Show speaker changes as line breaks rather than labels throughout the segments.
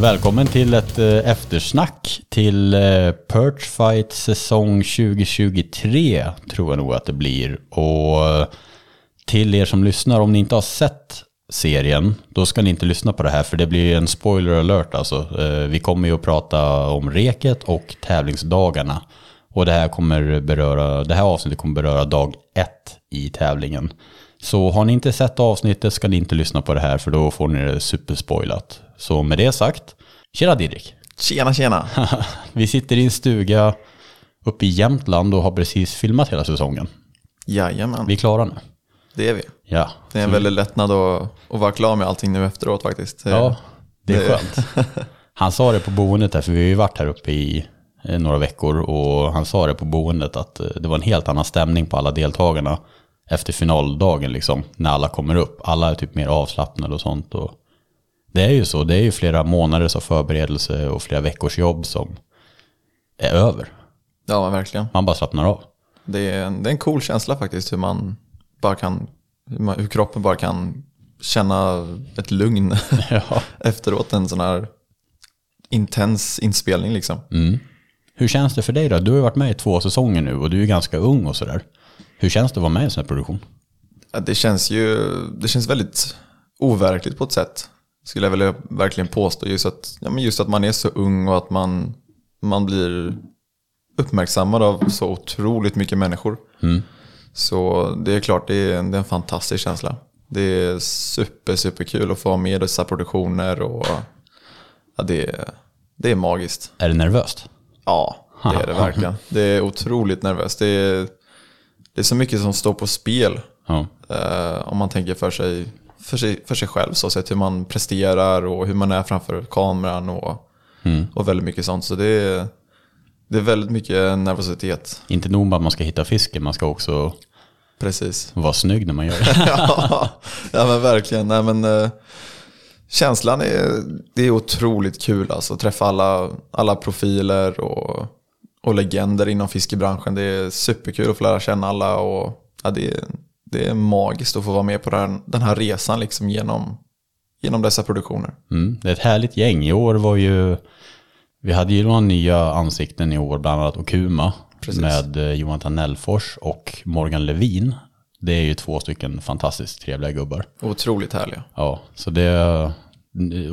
Välkommen till ett eh, eftersnack till eh, Perch Fight säsong 2023 tror jag nog att det blir. Och eh, till er som lyssnar, om ni inte har sett serien, då ska ni inte lyssna på det här för det blir en spoiler alert alltså. Eh, Vi kommer ju att prata om reket och tävlingsdagarna. Och det här, kommer beröra, det här avsnittet kommer beröra dag ett i tävlingen. Så har ni inte sett avsnittet ska ni inte lyssna på det här för då får ni det superspoilat. Så med det sagt, tjena Didrik!
Tjena, tjena.
Vi sitter i en stuga uppe i Jämtland och har precis filmat hela säsongen.
Jajamän,
Vi är klara nu.
det är vi.
Ja,
Det är en väldig lättnad att, att vara klar med allting nu efteråt faktiskt.
ja det är
det-
skönt. Han sa det på boendet här, för vi har ju varit här uppe i eh, några veckor och han sa det på boendet att eh, det var en helt annan stämning på alla deltagarna efter finaldagen liksom, när alla kommer upp. Alla är typ mer avslappnade och sånt. Och det är ju så, det är ju flera månaders av förberedelse och flera veckors jobb som är över.
ja men verkligen.
Man bara slappnar av.
Det är, en, det är en cool känsla faktiskt hur man bara kan, hur, man, hur kroppen bara kan känna ett lugn
Ja.
efteråt en sån här intens inspelning liksom.
Hur känns det för dig då? Du har ju varit med i två säsonger nu och du är ganska ung och sådär. Hur känns det att vara med i en sån här produktion?
Ja, Det känns ju det känns väldigt overkligt på ett sätt. Skulle jag vilja verkligen påstå. Just att, ja, men just att man är så ung och att man, man blir uppmärksammad av så otroligt mycket människor. Så det är klart, det är, en- det är en fantastisk känsla. Det är super, super kul att få vara med i dessa produktioner. Och, ja, det, är- det är magiskt.
Är det nervöst?
Ja, det är det verkligen. Det är otroligt nervöst. Det är, det är så mycket som står på spel.
Ja.
Eh, om man tänker för sig, för sig, för sig själv, så sett hur man presterar och hur man är framför kameran och, och väldigt mycket sånt. Så det är, det är väldigt mycket nervositet.
Inte nog med att man ska hitta fisken, man ska också
Precis.
vara snygg när man gör det.
ja, men verkligen. Nej, men, eh, känslan är, det är otroligt kul alltså, att träffa alla, alla profiler och, och legender inom fiskebranschen. Det är superkul att få lära känna alla. Och, ja, det, är, det är magiskt att få vara med på den här, den här resan liksom, genom, genom dessa produktioner.
Mm. Det är ett härligt gäng. I år var ju... Vi hade ju några nya ansikten i år, bland annat Okuma
Precis.
med eh, Johan Tanellfors och Morgan Levin. Det är ju två stycken fantastiskt trevliga gubbar.
Otroligt härliga.
Ja, så det...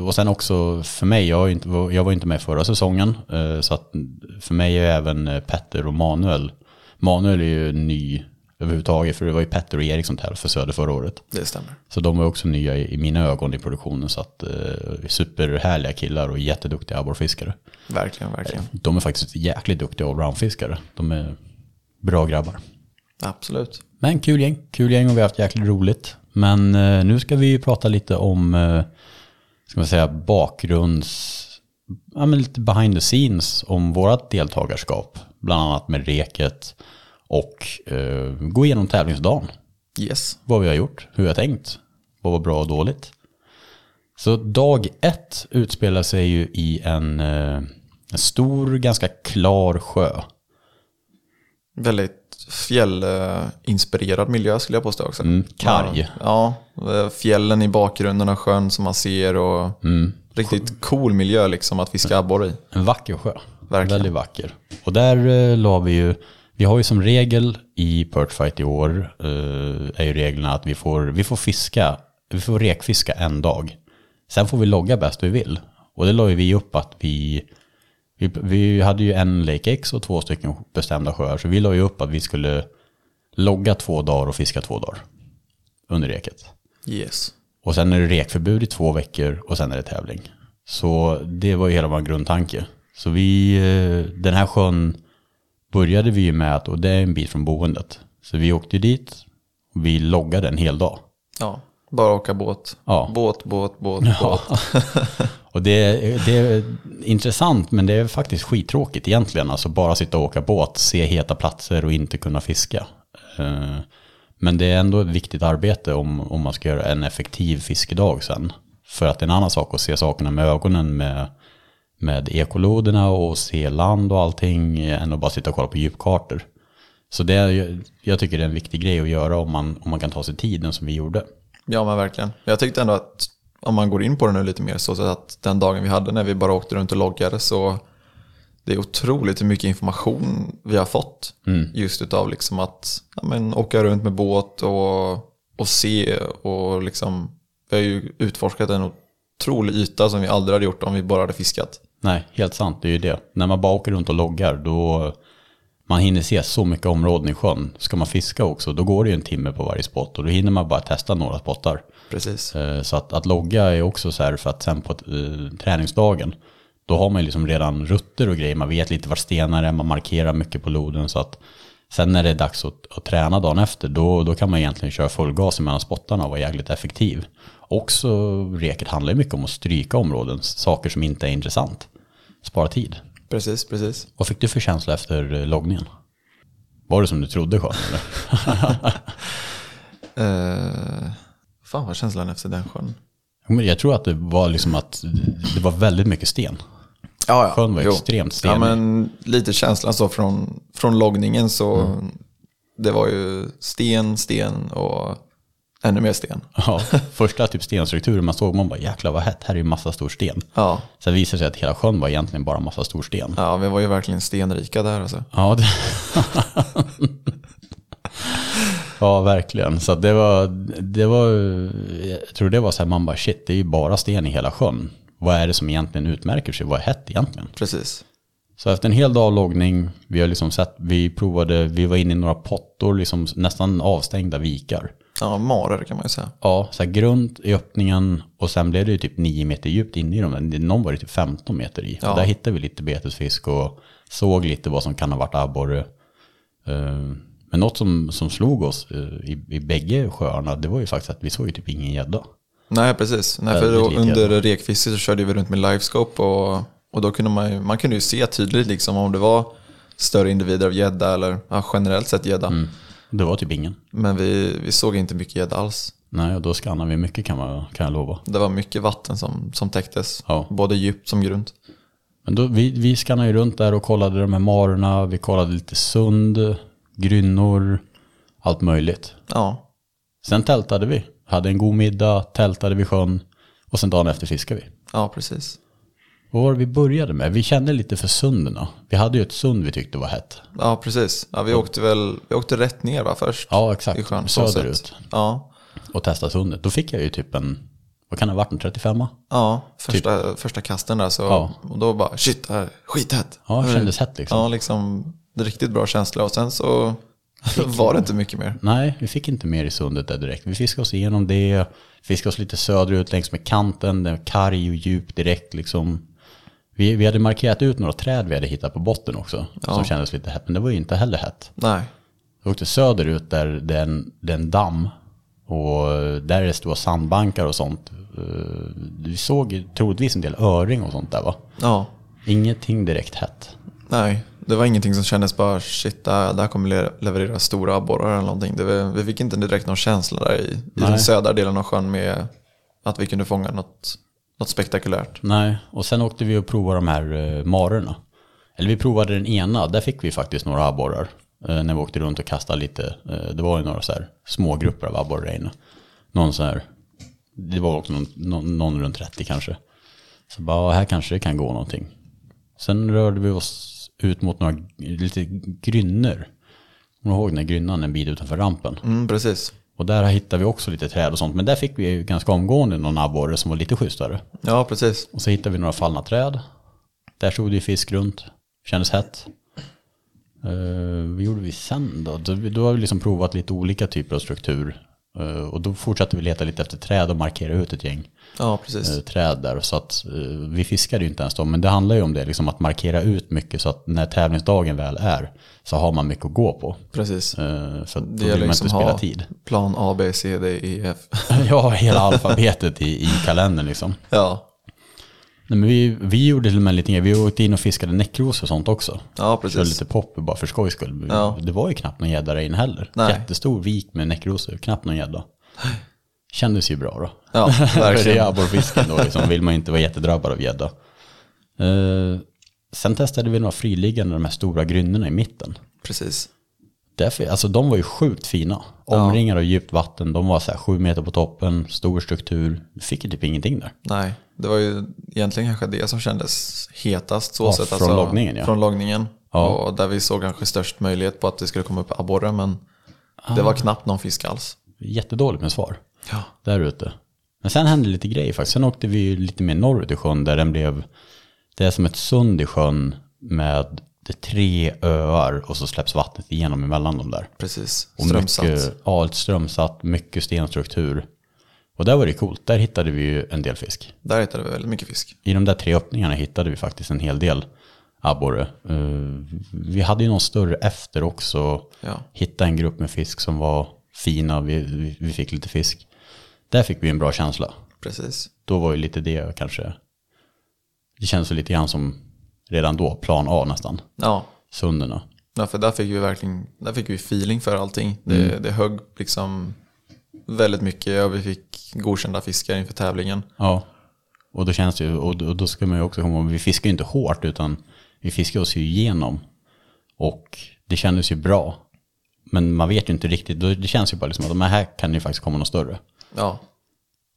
Och sen också för mig, jag, har ju inte, jag var ju inte med förra säsongen, eh, så att för mig är även eh, Petter och Manuel. Manuel är ju ny överhuvudtaget, för det var ju Petter och Erik som tävlade för Söder förra året.
Det stämmer.
Så de var också nya i, i mina ögon i produktionen, så att eh, superhärliga killar och jätteduktiga abborrfiskare.
Verkligen, verkligen.
De är faktiskt jäkligt duktiga allroundfiskare. De är bra grabbar.
Absolut.
Men kul gäng, kul gäng och vi har haft jäkligt roligt. Men eh, nu ska vi ju prata lite om, eh, ska man säga bakgrunds, ja men lite behind the scenes om vårat deltagarskap. Bland annat med reket och eh, gå igenom tävlingsdagen.
Yes.
Vad vi har gjort, hur vi har tänkt, vad var bra och dåligt. Så dag ett utspelar sig ju i en, eh, en stor, ganska klar sjö.
Väldigt fjällinspirerad miljö skulle jag påstå också.
Mm, karg.
Ja, ja, eh, fjällen i bakgrunden och sjön som man ser och
Mm.
riktigt cool miljö liksom att fiska abborre i.
En vacker sjö.
Verkligen.
Väldigt vacker. Och där eh, la vi ju, vi har ju som regel i Perch Fight i år, eh, är ju reglerna att vi får, vi får fiska, vi får rekfiska en dag. Sen får vi logga bäst vi vill. Och det la ju vi upp att vi, vi, vi hade ju en Lake X och två stycken bestämda sjöar, så vi la ju upp att vi skulle logga två dagar och fiska två dagar under reket.
Yes.
Och sen är det rekförbud i två veckor och sen är det tävling. Så det var ju hela vår grundtanke. Så vi, eh, den här sjön började vi ju med att, och det är en bit från boendet. Så vi åkte ju dit, och vi loggade en hel dag.
Ja, bara åka båt.
Ja.
Båt, båt, båt, båt.
Och det, är- det är intressant men det är faktiskt skittråkigt egentligen. Alltså bara sitta och åka båt, se heta platser och inte kunna fiska. Eh, Men det är ändå ett viktigt arbete om, om man ska göra en effektiv fiskedag sen. För att det är en annan sak att se sakerna med ögonen med, med ekoloderna och se land och allting eh, än att bara sitta och kolla på djupkartor. Så det är, ju- jag tycker det är en viktig grej att göra om man, om man kan ta sig tiden som vi gjorde.
Ja men verkligen. Jag tyckte ändå att om man går in på det nu lite mer, så att den dagen vi hade när vi bara åkte runt och loggade så det är otroligt hur mycket information vi har fått. Just utav liksom att ja, men, åka runt med båt och, och se och liksom, vi har ju utforskat en otrolig yta som vi aldrig hade gjort om vi bara hade fiskat.
Nej, helt sant. Det är ju det. När man bara åker runt och loggar då man hinner se så mycket områden i sjön. Ska man fiska också, då går det ju en timme på varje spot och då hinner man bara testa några spottar.
Precis.
Eh, Så att, att logga är också så här för att sen på eh, träningsdagen då har man ju liksom redan rutter och grejer. Man vet lite vart stenar är, man markerar mycket på loden. Så att sen när det är dags att, att träna dagen efter då, då kan man egentligen köra full gas mellan spottarna och vara jäkligt effektiv. Också reket handlar ju mycket om att stryka områden, saker som inte är intressant. Spara tid.
Precis, precis.
Vad fick du för känsla efter eh, loggningen? Var det som du trodde sjön? eller?
Eh, fan vad känslan efter den sjön.
Men Jag tror att det var liksom att det var väldigt mycket sten.
Ja, ja.
Sjön var extremt stenig.
Ja, men lite känslan så från, från loggningen så det var ju sten, sten och ännu mer sten.
Ja, första typ stenstrukturen man såg, man bara jäklar vad hett, här är ju massa stor sten.
Ja,
Sen visade det sig att hela sjön var egentligen bara massa stor sten.
ja vi var ju verkligen stenrika där alltså.
Ja, det... ja verkligen. Så att det var, det var, jag tror det var så här, man bara shit, det är ju bara sten i hela sjön. Vad är det som egentligen utmärker sig? Vad är hett egentligen?
Precis.
Så efter en hel dag loggning, vi har liksom sett, vi provade, vi var inne i några pottor, liksom nästan avstängda vikar.
Ja, marer kan man ju säga.
Ja, så här grunt i öppningen och sen blev det ju typ 9 meter djupt inne i dem. Men Någon var ju typ 15 meter i.
Ja.
Där hittade vi lite betesfisk och såg lite vad som kan ha varit abborre. Eh, Men något som, som slog oss eh, i, i bägge sjöarna, det var ju faktiskt att vi såg ju typ ingen gädda.
Nej, precis. Nej, för
Väldigt
då,
lite
under rekfisket så körde vi runt med livescope och, och då kunde man, ju, man kunde ju se tydligt liksom om det var större individer av gädda eller ja, generellt sett gädda.
Det var typ ingen.
Men vi, vi såg inte mycket gädda alls.
Nej, och då skannar vi mycket kan, man, kan jag lova.
Det var mycket vatten som, som täcktes,
Ja.
både djupt som grunt.
Men då, vi, vi skannade ju runt där och kollade de här marorna, vi kollade lite sund, grynnor, allt möjligt.
Ja,
Sen tältade vi, hade en god middag, tältade vid sjön och sen dagen efter fiskade vi.
ja precis.
Vad var det vi började med? Vi kände lite för sunderna. Vi hade ju ett sund vi tyckte var hett.
Ja, precis. Ja, vi åkte väl vi åkte rätt ner va, först
Ja,
i
exakt.
sjön. så
Söderut.
sett. Ja,
Och testade sundet. Då fick jag ju typ en, vad kan det ha varit, en 35
ja första, första kasten där. Så,
Typ. Ja.
Och då bara shit, det här är skithett.
Ja, det kändes hett liksom.
Ja, liksom det är riktigt bra känsla. Och sen så var det inte mycket mer.
Nej, vi fick inte mer i sundet där direkt. Vi fiskade oss igenom det, fiskade oss lite söderut längs med kanten, den var karg och djup direkt liksom. Vi, vi hade markerat ut några träd vi hade hittat på botten också, som kändes lite hett, men det var ju inte heller hett.
Nej,
Jag åkte söderut där det är en, det är en damm. Och där är det stora sandbankar och sånt. Eh, Vi såg troligtvis en del öring och sånt där va?
ja,
Ingenting direkt hett.
nej. Det var ingenting som kändes bara shit, där, där kommer le- leverera stora abborrar eller någonting. Det, var- vi fick inte direkt någon känsla där i, i den södra delen av sjön med att vi kunde fånga något, något spektakulärt.
Nej, och sen åkte vi och provade de här eh, marorna. Eller vi provade den ena, där fick vi faktiskt några abborrar. eh, När vi åkte runt och kastade lite. Eh, Det var ju några så här små grupper av abborre där inne. Någon så här, det var också någon, någon, någon runt 30 kanske. Så bara, ja, här kanske det kan gå någonting. Sen rörde vi oss ut mot några g- lite grynnor. Kommer du ihåg den här grynnan en bit utanför rampen?
Mm, precis.
Och där hittade vi också lite träd och sånt. Men där fick vi ju ganska omgående någon abborre som var lite schysstare.
Ja, precis.
Och så hittade vi några fallna träd. Där stod det ju fisk runt. Kändes hett. Eh, vad gjorde vi sen då? då? Då har vi liksom provat lite olika typer av struktur. Eh, och då fortsatte vi leta lite efter träd och markera ut ett gäng
Ja, precis.
eh, träd där. Så att eh, vi fiskade ju inte ens dem. Men det handlar ju om det, liksom att markera ut mycket så att när tävlingsdagen väl är så har man mycket att gå på.
Precis.
Eh, för att
Det
då vill
gäller
man
liksom
inte
att
spela
ha
tid.
plan A, B, C, D, E, F.
ja, hela alfabetet i, i kalendern liksom.
ja.
Nej, men vi, vi gjorde till och med lite grann. Vi åkte in och fiskade näckros och sånt också.
ja,
Körde
precis.
lite poppy bara för skojs skull.
Ja.
Det var ju knappt någon gädda där inne heller.
Nej.
Jättestor vik med näckrosor, knappt någon gädda. Kändes ju bra då.
Ja,
För det är
verkligen.
abborrfisken då, liksom, vill man ju inte vara jättedrabbad av gädda. Eh, sen testade vi några friliggande, de här stora grynnorna i mitten.
precis.
Därför, alltså de var ju sjukt fina. Omringar av djupt vatten, de var så här sju meter på toppen, stor struktur. Du fick ju typ ingenting där.
Nej, det var ju egentligen kanske det som kändes hetast så
Ja,
sett. alltså,
från loggningen, ja.
Från loggningen.
Ja.
Och där vi såg kanske störst möjlighet på att det skulle komma upp abborre men
Ah.
det var knappt någon fisk alls.
Jättedåligt med svar
Ja.
där ute. Men sen hände lite grejer faktiskt. Sen åkte vi ju lite mer norrut i sjön där den blev, det är som ett sund i sjön med det är tre öar och så släpps vattnet igenom emellan dem där.
Precis,
Och
strömsatt.
Mycket, ja, ett strömsatt, mycket stenstruktur. Och där var det coolt, där hittade vi ju en del fisk.
Där hittade vi väldigt mycket fisk.
I de där tre öppningarna hittade vi faktiskt en hel del abborre. Eh, vi hade ju någon större efter också.
Ja.
Hittade en grupp med fisk som var fina, vi, vi, vi fick lite fisk. Där fick vi en bra känsla.
Precis.
Då var ju lite det kanske, det känns ju lite grann som redan då, plan A nästan,
Ja.
sunderna.
ja, för där fick vi verkligen där fick vi feeling för allting. Det,
Mm.
det högg liksom väldigt mycket och vi fick godkända fiskar inför tävlingen.
Ja, och då känns det ju, och då, och då ska man ju också komma ihåg, vi fiskar ju inte hårt utan vi fiskar oss ju igenom. Och det kändes ju bra. Men man vet ju inte riktigt, då- det känns ju bara liksom att men här kan det ju faktiskt komma något större.
Ja,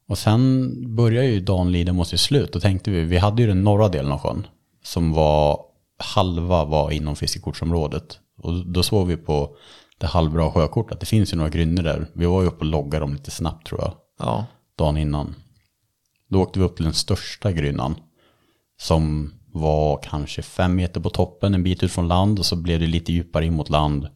Och sen började ju dagen lida mot sitt slut och tänkte vi, vi hade ju den norra delen av sjön som var, halva var inom fiskekortsområdet. Och då såg vi på det halvbra sjökortet att det finns ju några grynnor där. Vi var ju uppe och loggade dem lite snabbt tror jag
ja,
dagen innan. Då åkte vi upp till den största grynnan som var kanske fem meter på toppen, en bit ut från land och så blev det lite djupare in mot land.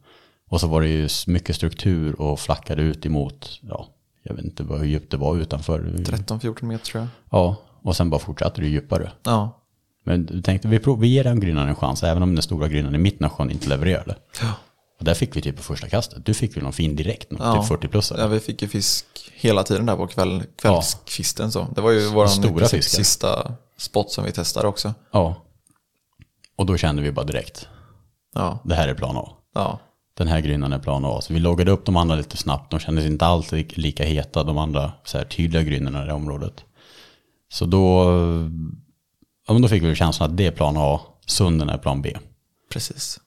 Och så var det ju s- mycket struktur och flackade ut emot, ja, jag vet inte vad- hur djupt det var utanför.
13-14 meter tror jag.
Ja, och sen bara fortsatte det djupare.
Ja,
Men du tänkte, vi, prov- vi ger den grynnan en chans, även om den stora grynnan i mitten av sjön inte levererade.
ja.
Och där fick vi typ på första kastet, du fick väl någon fin direkt, någon
Ja.
typ 40 plus
Ja, vi fick ju fisk hela tiden där på kväll, kvällskvisten. Så. Det var ju vår
stora
i princip
fiskar.
sista spot som vi testade också.
Ja. Och då kände vi bara direkt,
Ja,
det här är plan A.
ja,
den här grynnan är plan A. Så vi loggade upp de andra lite snabbt. De kändes inte alls li- lika heta, de andra så här, tydliga grynnorna i det området. Så då, ja, men då fick vi känslan att det är plan A, sunden är plan B.
precis.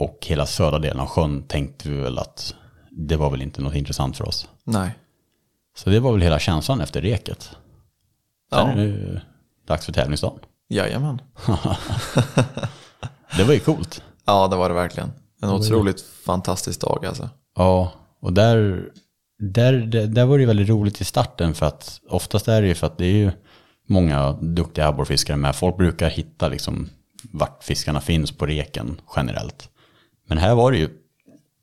Och hela södra delen av sjön tänkte vi väl att det var väl inte något intressant för oss.
Nej,
Så det var väl hela känslan efter reket. Sen
Ja.
är det ju dags för tävlingsdagen.
jajamän.
Det var ju coolt.
Ja, det var det verkligen. En otroligt fantastisk dag alltså.
Ja, och där, där, där, där var det ju väldigt roligt i starten för att oftast är det ju för att det är ju många duktiga abborrfiskare med. Folk brukar hitta liksom vart fiskarna finns på reken generellt. Men här var det ju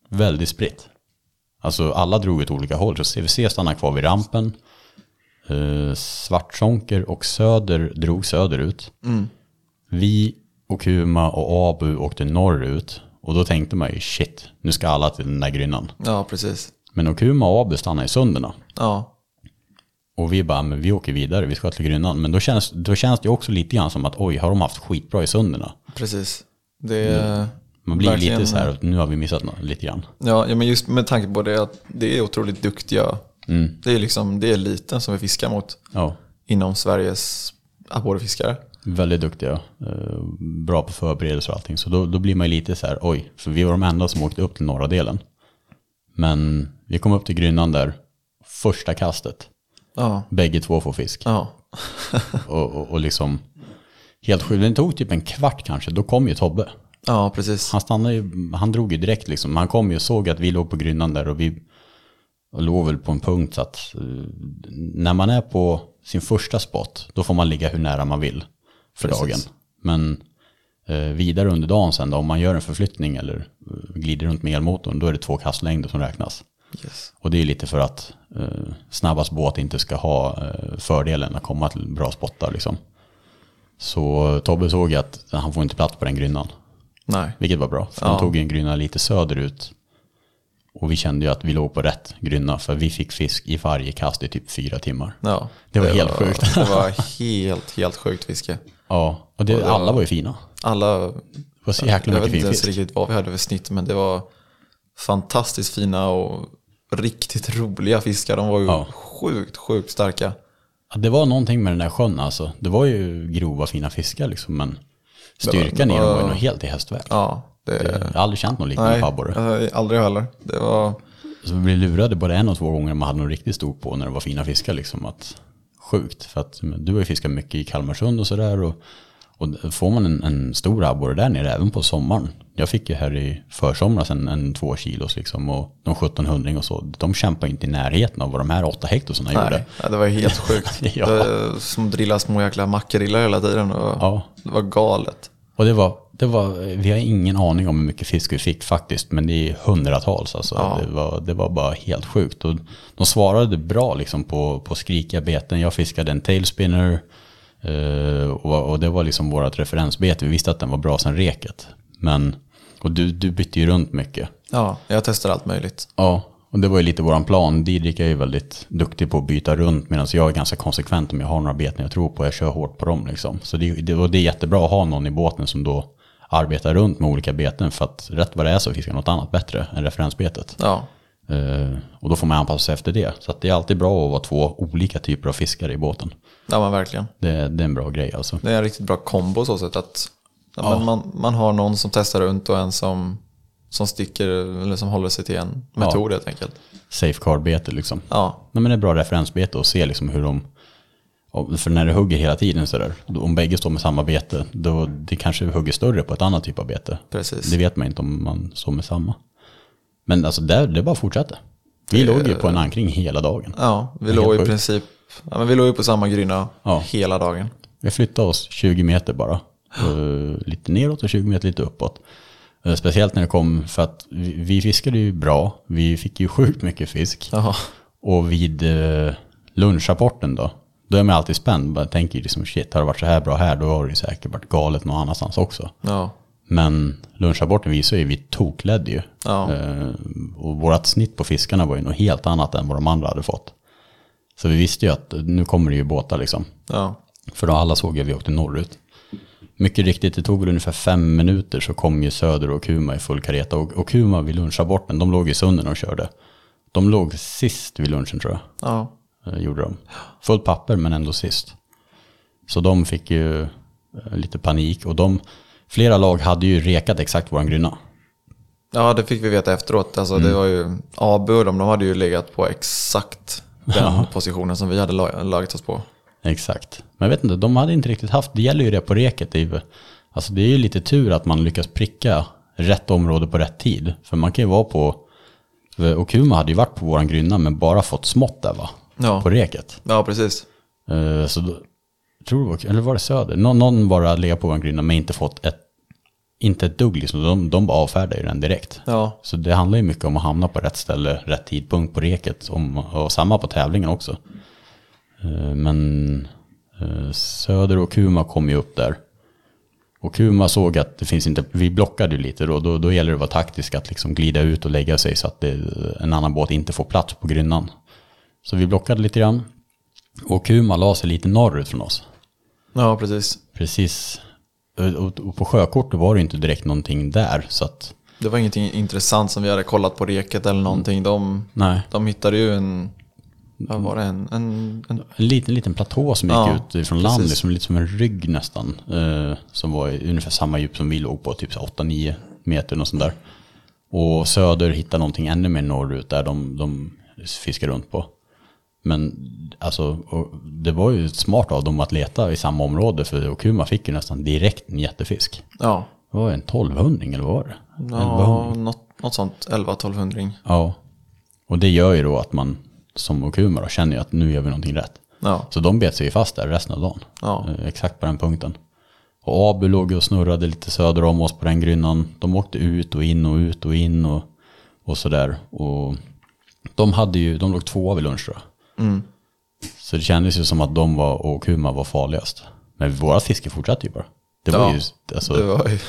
väldigt spritt. Alltså alla drog åt olika håll. Så CVC stannade kvar vid rampen. Eh, Svartsonker och Söder drog söderut. Vi och Kuma och Abu åkte norrut. Och då tänkte man ju shit, nu ska alla till den där grynnan.
Ja, precis.
Men Okuma och Abu stannade i sunderna.
Ja,
Och vi bara, men vi åker vidare, vi ska till Grynnan. Men då känns, då känns det ju också lite grann som att oj, har de haft skitbra i sunderna?
precis. Det är
Man blir
verkligen-
lite så här, nu har vi missat något, lite grann.
Ja, ja, men just med tanke på det att det är otroligt duktiga. Det är liksom det är eliten som vi fiskar mot
Ja,
inom Sveriges abborrfiskare.
väldigt duktiga, eh, bra på förberedelser och allting. Så då, då blir man ju lite så här, oj, för vi var de enda som åkte upp till norra delen. Men vi kom upp till Grynnan där, första kastet,
Ja,
bägge två får fisk.
ja,
Och, och, och liksom, helt sjukt, det tog typ en kvart kanske, då kom ju Tobbe.
ja precis.
Han stannade ju, han drog ju direkt liksom. Han kom ju och såg att vi låg på grynnan där och vi och låg väl på en punkt så att eh, när man är på sin första spot då får man ligga hur nära man vill för
Precis.
dagen. Men eh, vidare under dagen sen då, om man gör en förflyttning eller eh, glider runt med elmotorn då är det två kastlängder som räknas.
Yes.
Och det är lite för att eh, snabbast båt inte ska ha eh, fördelen att komma till bra spottar liksom. Så Tobbe såg ju att han får inte plats på den grynnan.
Nej,
Vilket var bra, för
Ja.
han tog en grynna lite söderut. Och vi kände ju att vi låg på rätt grynna, för vi fick fisk i varje kast i typ fyra timmar.
Ja,
Det var helt sjukt.
Det var helt, helt sjukt fiske.
Ja, och det, alla var ju fina.
Alla,
Det var så
jag
jäkla
vet
mycket
inte
fin
ens
fisk.
riktigt vad vi hade för snitt, men det var fantastiskt fina och riktigt roliga fiskar. De var ju
Ja.
sjukt, sjukt starka.
Ja, det var någonting med den där sjön alltså. Det var ju grova fina fiskar liksom, men styrkan i dem var ju nog helt i hästväg.
Ja, Det,
Jag har aldrig känt någon liknande
nej,
abborre.
eh, aldrig heller. Det var,
Så vi blev lurade både en och två gånger man hade någon riktigt stor på när det var fina fiskar. Liksom, att, sjukt, för att men, du har ju fiskat mycket i Kalmarsund och sådär. Och, och får man en, en stor abborre där nere även på sommaren. Jag fick ju här i försomras en, en två kilos liksom och de 1700 och så. De kämpar ju inte i närheten av vad de här åtta hektosarna gjorde.
nej, ja, det var helt sjukt.
Ja.
det, som drilla små jäkla mackadillar hela tiden. Och,
Ja.
Det var galet.
Och det var, det var, vi har ingen aning om hur mycket fisk vi fick faktiskt, men det är hundratals. Alltså. Det, var, det var bara helt sjukt. Och de svarade bra liksom, på, på skrikiga beten. Jag fiskade en tailspinner eh, och, och det var liksom vårt referensbete. Vi visste att den var bra sen reket. Men, och du, du bytte ju runt mycket.
Ja, jag testade allt möjligt.
Ja, och det var ju lite våran plan. Didrik är ju väldigt duktig på att byta runt medan jag är ganska konsekvent om jag har några beten jag tror på. Jag kör hårt på dem liksom. Så det, det, och det är jättebra att ha någon i båten som då arbetar runt med olika beten för att rätt vad det är så fiskar något annat bättre än referensbetet.
Ja,
Eh, och då får man anpassa sig efter det. Så att det är alltid bra att vara två olika typer av fiskare i båten.
ja men verkligen.
Det, det är en bra grej alltså.
Det är en riktigt bra kombo så sätt att ja, men man, man har någon som testar runt och en som, som sticker eller som håller sig till en metod helt enkelt.
Safeguard-bete liksom.
Ja,
Nej, men det är bra referensbete och se liksom hur de... om- För när det hugger hela tiden sådär, om bägge står med samma bete, då det kanske hugger större på ett annat typ av bete.
precis.
Det vet man inte om man står med samma. Men alltså där, det bara fortsatte. Vi låg ju på en ankring hela dagen.
Ja, vi
Helt
låg i
sjukt.
princip ja, men vi låg ju på samma gryna
Ja.
hela dagen.
Vi flyttade oss 20 meter bara. Eh, lite neråt och 20 meter lite uppåt. Eh, speciellt när det kom, för att vi, vi fiskade ju bra. Vi fick ju sjukt mycket fisk.
Ja,
Och vid eh, lunchrapporten då, då är man alltid spänd. Man tänker ju liksom shit, har det varit så här bra här, då har det ju säkert varit galet någon annanstans också.
ja,
Men lunchrapporten visar ju, vi tokledde ju.
Ja.
Eh, och vårt snitt på fiskarna var ju något helt annat än vad de andra hade fått. Så vi visste ju att eh, nu kommer det ju båtar liksom.
ja.
För då alla såg ju att vi åkte norrut. Mycket riktigt, det tog väl ungefär fem minuter så kom ju Söder och Kuma i full kareta. Och, och Kuma vid lunchaborten, de låg i sunden och körde. De låg sist vid lunchen tror jag.
ja.
Eh, gjorde de. Fullt papper men ändå sist. Så de fick ju eh, lite panik och de, flera lag hade ju rekat exakt våran gryna.
Ja, det fick vi veta efteråt. Alltså,
Mm.
Det var ju Abu och de, de hade ju legat på exakt den positionen som vi hade la- lagt oss på.
Exakt. Men jag vet inte, de hade inte riktigt haft, det gäller ju det på reket. Det är, ju- alltså det är ju lite tur att man lyckas pricka rätt område på rätt tid. För man kan ju vara på, och Kuma hade ju varit på våran grynna men bara fått smått där va?
Ja.
På reket.
Ja, precis.
Eh, Så då, tror du, det var- eller var det Söder? Nå, någon bara legat på en grynna men inte fått ett, inte ett dugg liksom. De, de bara avfärdar ju den direkt.
Ja,
Så det handlar ju mycket om att hamna på rätt ställe, rätt tidpunkt på reket om, och samma på tävlingen också. Eh, Men eh, Söder och Kuma kom ju upp där. Och Kuma såg att det finns inte, vi blockade ju lite då, då, då gäller det att vara taktisk, att liksom glida ut och lägga sig så att det, en annan båt inte får plats på grynnan. Så vi blockade lite grann. Och Kuma la sig lite norrut från oss.
ja precis.
Precis. eh, Och, och på sjökortet var det ju inte direkt någonting där så att,
Det var ingenting intressant som vi hade kollat på reket eller någonting. De,
nej.
de hittade ju en... Vad var det? En, en, en
En liten, liten platå som gick
Ja,
ut ifrån land,
precis.
liksom, lite som en rygg nästan. Eh, som var i ungefär samma djup som vi låg på, typ så 8-9 meter och sånt där. Och söder hittade någonting ännu mer norrut där de, de fiskar runt på. Men alltså, och det var ju smart av dem att leta i samma område för Okuma fick ju nästan direkt en jättefisk.
ja,
Det var en 1200 eller vad var det?
ja något, något sånt. 11-1200.
Ja. Och det gör ju då att man som Okuma då känner ju att nu gör vi någonting rätt.
Ja,
Så de bet sig ju fast där resten av dagen.
Ja.
Eh, Exakt på den punkten. Och Abu låg ju och snurrade lite söder om oss på den grynnan. De åkte ut och in och ut och in och, och sådär. Och de, hade ju, de låg tvåa vid lunch tror jag.
Mm.
Så det kändes ju som att de var, och Kuma var farligast. Men våra fiske fortsatte ju bara. Det var
Ja,
ju, alltså,
det var ju...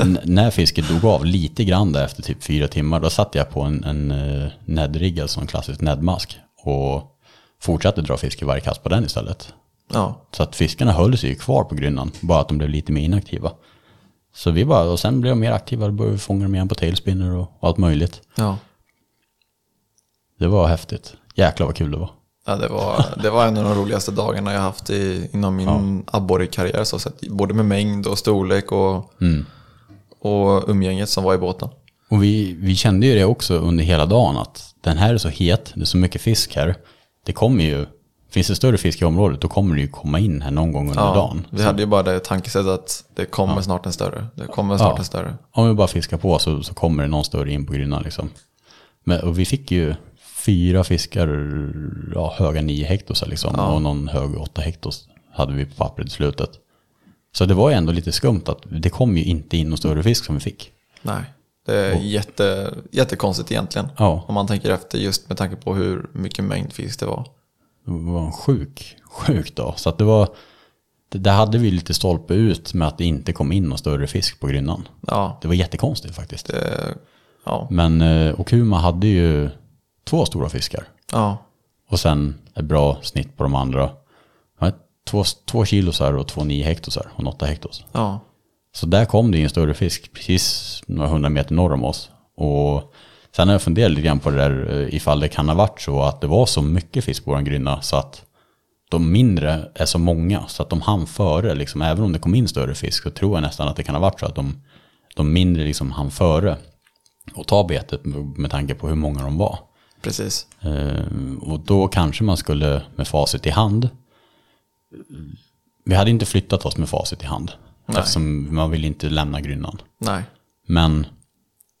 N- när fisket dog av lite grann där efter typ fyra timmar, då satt jag på en, en eh, nedrigg, alltså en klassisk nedmask och fortsatte dra fisk i varje kast på den istället.
Ja,
Så att fiskarna höll sig ju kvar på grynnan, bara att de blev lite mer inaktiva. Så vi bara, och sen blev de mer aktiva, då började vi fånga dem igen på tailspinner och allt möjligt.
ja.
Det var häftigt. Jäklar vad kul det var.
Ja, det, var, det var en av de roligaste dagarna jag haft i, inom min abborrekarriär. Så sett, både med mängd och storlek och, och umgänget som var i båten.
Och vi, vi kände ju det också under hela dagen att den här är så het, det är så mycket fisk här. Det kommer ju, finns det större fisk i området då kommer det ju komma in här någon gång under dagen.
vi hade ju bara det tankesättet att det kommer snart en större. Det kommer snart en större.
Om vi bara fiskar på så, så kommer det någon större in på grynnan liksom. Men, och vi fick ju fyra fiskar, ja, höga nio hektos liksom. Och någon hög åtta hektos hade vi på pappret i slutet. Så det var ju ändå lite skumt att det kom ju inte in någon större fisk som vi fick.
Nej, det är jätte, jättekonstigt egentligen.
Ja.
Om man tänker efter just med tanke på hur mycket mängd fisk det var.
Det var en sjuk, sjuk dag. Så att det var, det, där hade vi lite stolpe ut med att det inte kom in någon större fisk på grynnan.
Ja,
Det var jättekonstigt faktiskt.
det, ja,
Men eh, Okuma hade ju två stora fiskar.
ja,
Och sen ett bra snitt på de andra. Ja, Två, två kilosar och två nio hektosar och en åtta hektos.
ja,
Så där kom det ju en större fisk precis några hundra meter norr om oss. Och sen har jag funderat lite grann på det där eh, ifall det kan ha varit så att det var så mycket fisk på våran grynna så att de mindre är så många så att de hann före. Liksom, även om det kom in större fisk så tror jag nästan att det kan ha varit så att de, de mindre liksom hann före och ta betet med med tanke på hur många de var.
precis.
Eh, Och då kanske man skulle med facit i hand. eh, Vi hade inte flyttat oss med facit i hand. Eftersom man vill inte lämna grynnan.
Nej,
Men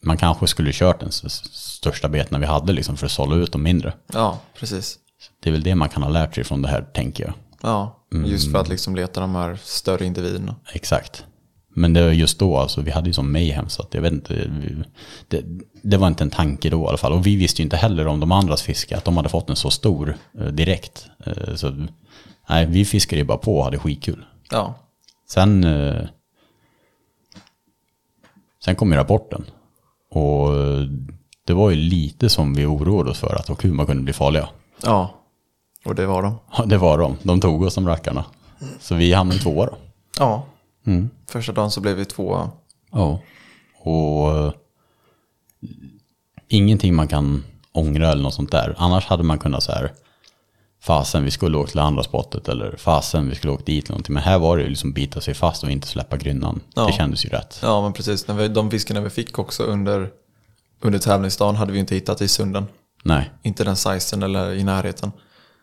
man kanske skulle kört den s- s- största beten vi hade liksom för att sålla ut de mindre.
ja, precis.
Det är väl det man kan ha lärt sig från det här tänker jag.
Ja, just för att liksom leta de här större individerna.
Exakt. Men det var just då, alltså, vi hade ju som mayhem så att jag vet inte. vi- Det, det var inte en tanke då i alla fall. Och vi visste ju inte heller om de andras fiske, att de hade fått en så stor eh, direkt. Eh, så, nej, vi fiskade ju bara på och hade skitkul.
Ja,
Sen, eh, sen kom ju rapporten. Och eh, det var ju lite som vi oroade oss för, att Okuma kunde bli farliga.
ja, och det var de.
Ja, det var de. De tog oss som rackarna. Så vi hamnade tvåa då.
Ja, första dagen så blev vi två.
Ja. Och eh, ingenting man kan ångra eller något sånt där. Annars hade man kunnat så här, fasen vi skulle åkt till andra spottet eller fasen vi skulle åkt dit eller någonting. Men här var det ju liksom bita sig fast och inte släppa grynnan.
Ja.
Det kändes ju rätt.
Ja, men precis. När vi, de fiskarna vi fick också under, under tävlingsdagen hade vi inte hittat i sunden.
Nej,
inte den sizen eller i närheten.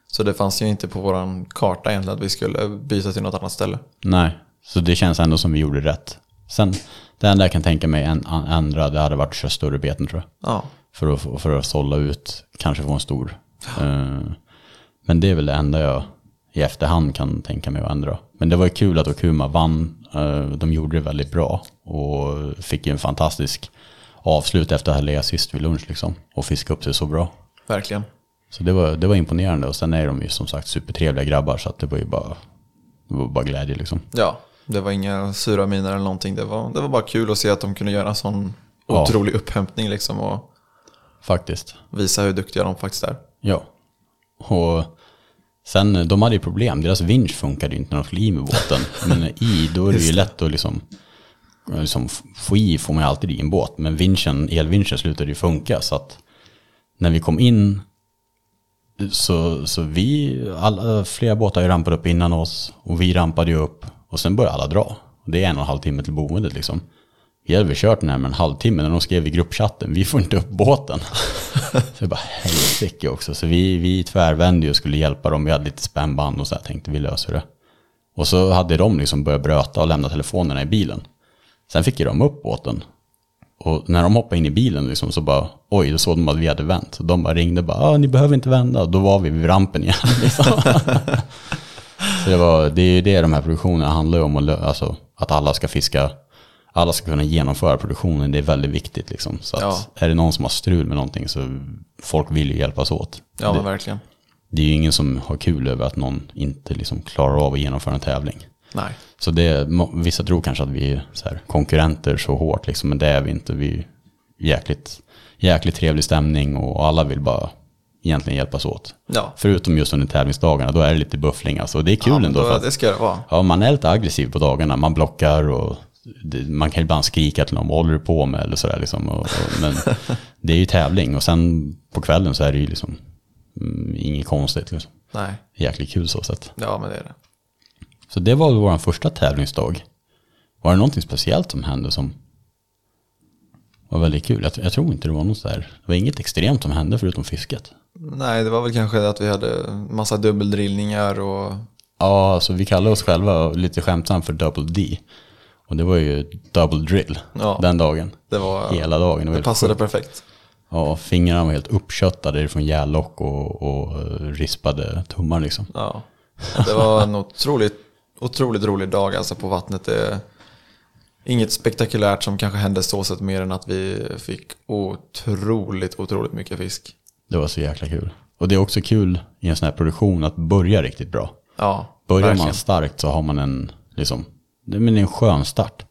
Så det fanns ju inte på vår karta egentligen att vi skulle byta till något annat ställe.
nej. Så det känns ändå som vi gjorde rätt. Sen, det enda jag kan tänka mig en, an- ändra, det hade varit att köra större beten tror jag.
Ja,
För att, för att sålla ut, kanske få en stor. Eh, Men det är väl det enda jag i efterhand kan tänka mig att ändra. Men det var ju kul att Okuma vann. Eh, De gjorde det väldigt bra och fick ju en fantastisk avslut efter att ha legat sist vid lunch liksom och fiska upp sig så bra.
verkligen.
Så det var, det var imponerande och sen är de ju som sagt supertrevliga grabbar så att det var ju bara, det var bara glädje liksom.
Ja, det var inga sura miner eller någonting. Det var, det var bara kul att se att de kunde göra en sån
Ja.
otrolig upphämtning liksom och
Faktiskt.
visa hur duktiga de faktiskt är.
Ja. Och sen, eh, de hade ju problem. Deras vinsch funkade ju inte när de skulle i med båten. Men i, då är det ju lätt att liksom... liksom få i får man ju alltid i en båt. Men vinschen, elvinschen slutade ju funka. Så att när vi kom in så, så vi, alla, flera båtar har ju rampat upp innan oss. Och vi rampade ju upp. Och sen började alla dra. Och det är en och en halv timme till boendet liksom. Vi hade väl kört närmare en halvtimme när de skrev i gruppchatten, vi får inte upp båten. Så jag bara, helsike också. Så vi, vi tvärvände ju och skulle hjälpa dem. Vi hade lite spännband och så här, tänkte vi löser det. Och så hade de liksom börjat bröta och lämna telefonerna i bilen. Sen fick ju de upp båten. Och när de hoppade in i bilen liksom så bara, oj, då såg de att vi hade vänt. Så de bara ringde bara, ah, ni behöver inte vända. Och då var vi vid rampen igen. Liksom. så det, var, det är ju det de här produktionerna handlar ju om, att, lö- alltså, att alla ska fiska, alla ska kunna genomföra produktionen. Det är väldigt viktigt liksom. Så att,
Ja.
är det någon som har strul med någonting så folk vill ju hjälpas åt.
Ja, men verkligen.
Det är ju ingen som har kul över att någon inte liksom klarar av att genomföra en tävling.
Nej,
Så det, må- vissa tror kanske att vi är så här, konkurrenter så hårt, liksom, men det är vi inte. Vi är jäkligt, jäkligt trevlig stämning och alla vill bara egentligen hjälpas åt.
ja.
Förutom just under tävlingsdagarna, då är det lite buffling alltså. Och det är kul
ja, men
ändå.
då,
för att,
det ska det vara.
Ja, man är lite aggressiv på dagarna. Man blockar och det, man kan ibland skrika till någon, vad håller du på med? Eller sådär liksom. och, och, men det är ju tävling och sen på kvällen så är det ju liksom mm, inget konstigt. Liksom.
Nej,
Jäkligt kul så sett.
ja men det är det.
Så det var väl vår första tävlingsdag. Var det någonting speciellt som hände som var väldigt kul. Jag, jag tror inte det var något sådär. Det var inget extremt som hände förutom fisket.
Nej, det var väl kanske att vi hade massa dubbeldrillningar och
Ja, alltså vi kallar oss själva lite skämtsamt för Double D. Och det var ju double drill
Ja.
den dagen.
det var...
Hela dagen.
Det
var
passade
sjukt.
perfekt.
Ja, fingrarna var helt uppköttade från järlock och, och eh, rispade tummar liksom.
Ja. Det var en otroligt, otroligt rolig dag alltså på vattnet. Det, inget spektakulärt som kanske hände så sett mer än att vi fick otroligt, otroligt mycket fisk.
Det var så jäkla kul. Och det är också kul i en sån här produktion att börja riktigt bra.
Ja,
Börjar
verkligen.
man starkt så har man en, liksom, det men det är en skön start.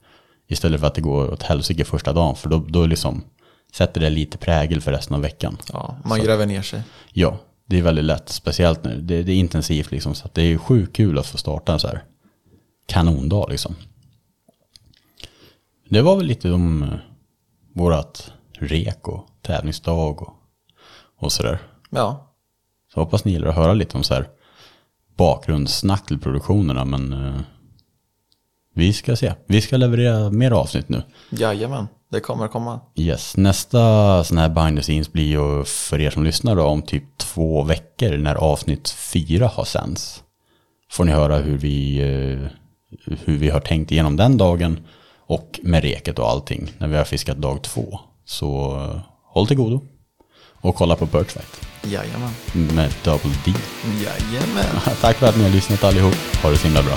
Istället för att det går åt helsike första dagen, för då, då liksom sätter det lite prägel för resten av veckan.
Ja, man gräver ner sig.
Ja, det är väldigt lätt, speciellt nu. Det, det är intensivt liksom, så att det är sjukt kul att få starta en så här kanondag liksom. Det var väl lite om eh, vårat rek och tävlingsdag och, och sådär.
Ja,
Så hoppas ni gillar att höra lite om så här bakgrundssnack till produktionerna, men eh, vi ska se. Vi ska leverera mer avsnitt nu.
jajamän. Det kommer komma.
Yes, nästa sån här behind the scenes blir ju för er som lyssnar då om typ två veckor när avsnitt fyra har sänds. Får ni höra hur vi, eh, hur vi har tänkt igenom den dagen och med reket och allting när vi har fiskat dag två. Så eh, håll till godo och kolla på Birchfight
Jajamän.
med Double D.
Jajamän.
Tack för att ni har lyssnat allihop. Ha det så himla bra.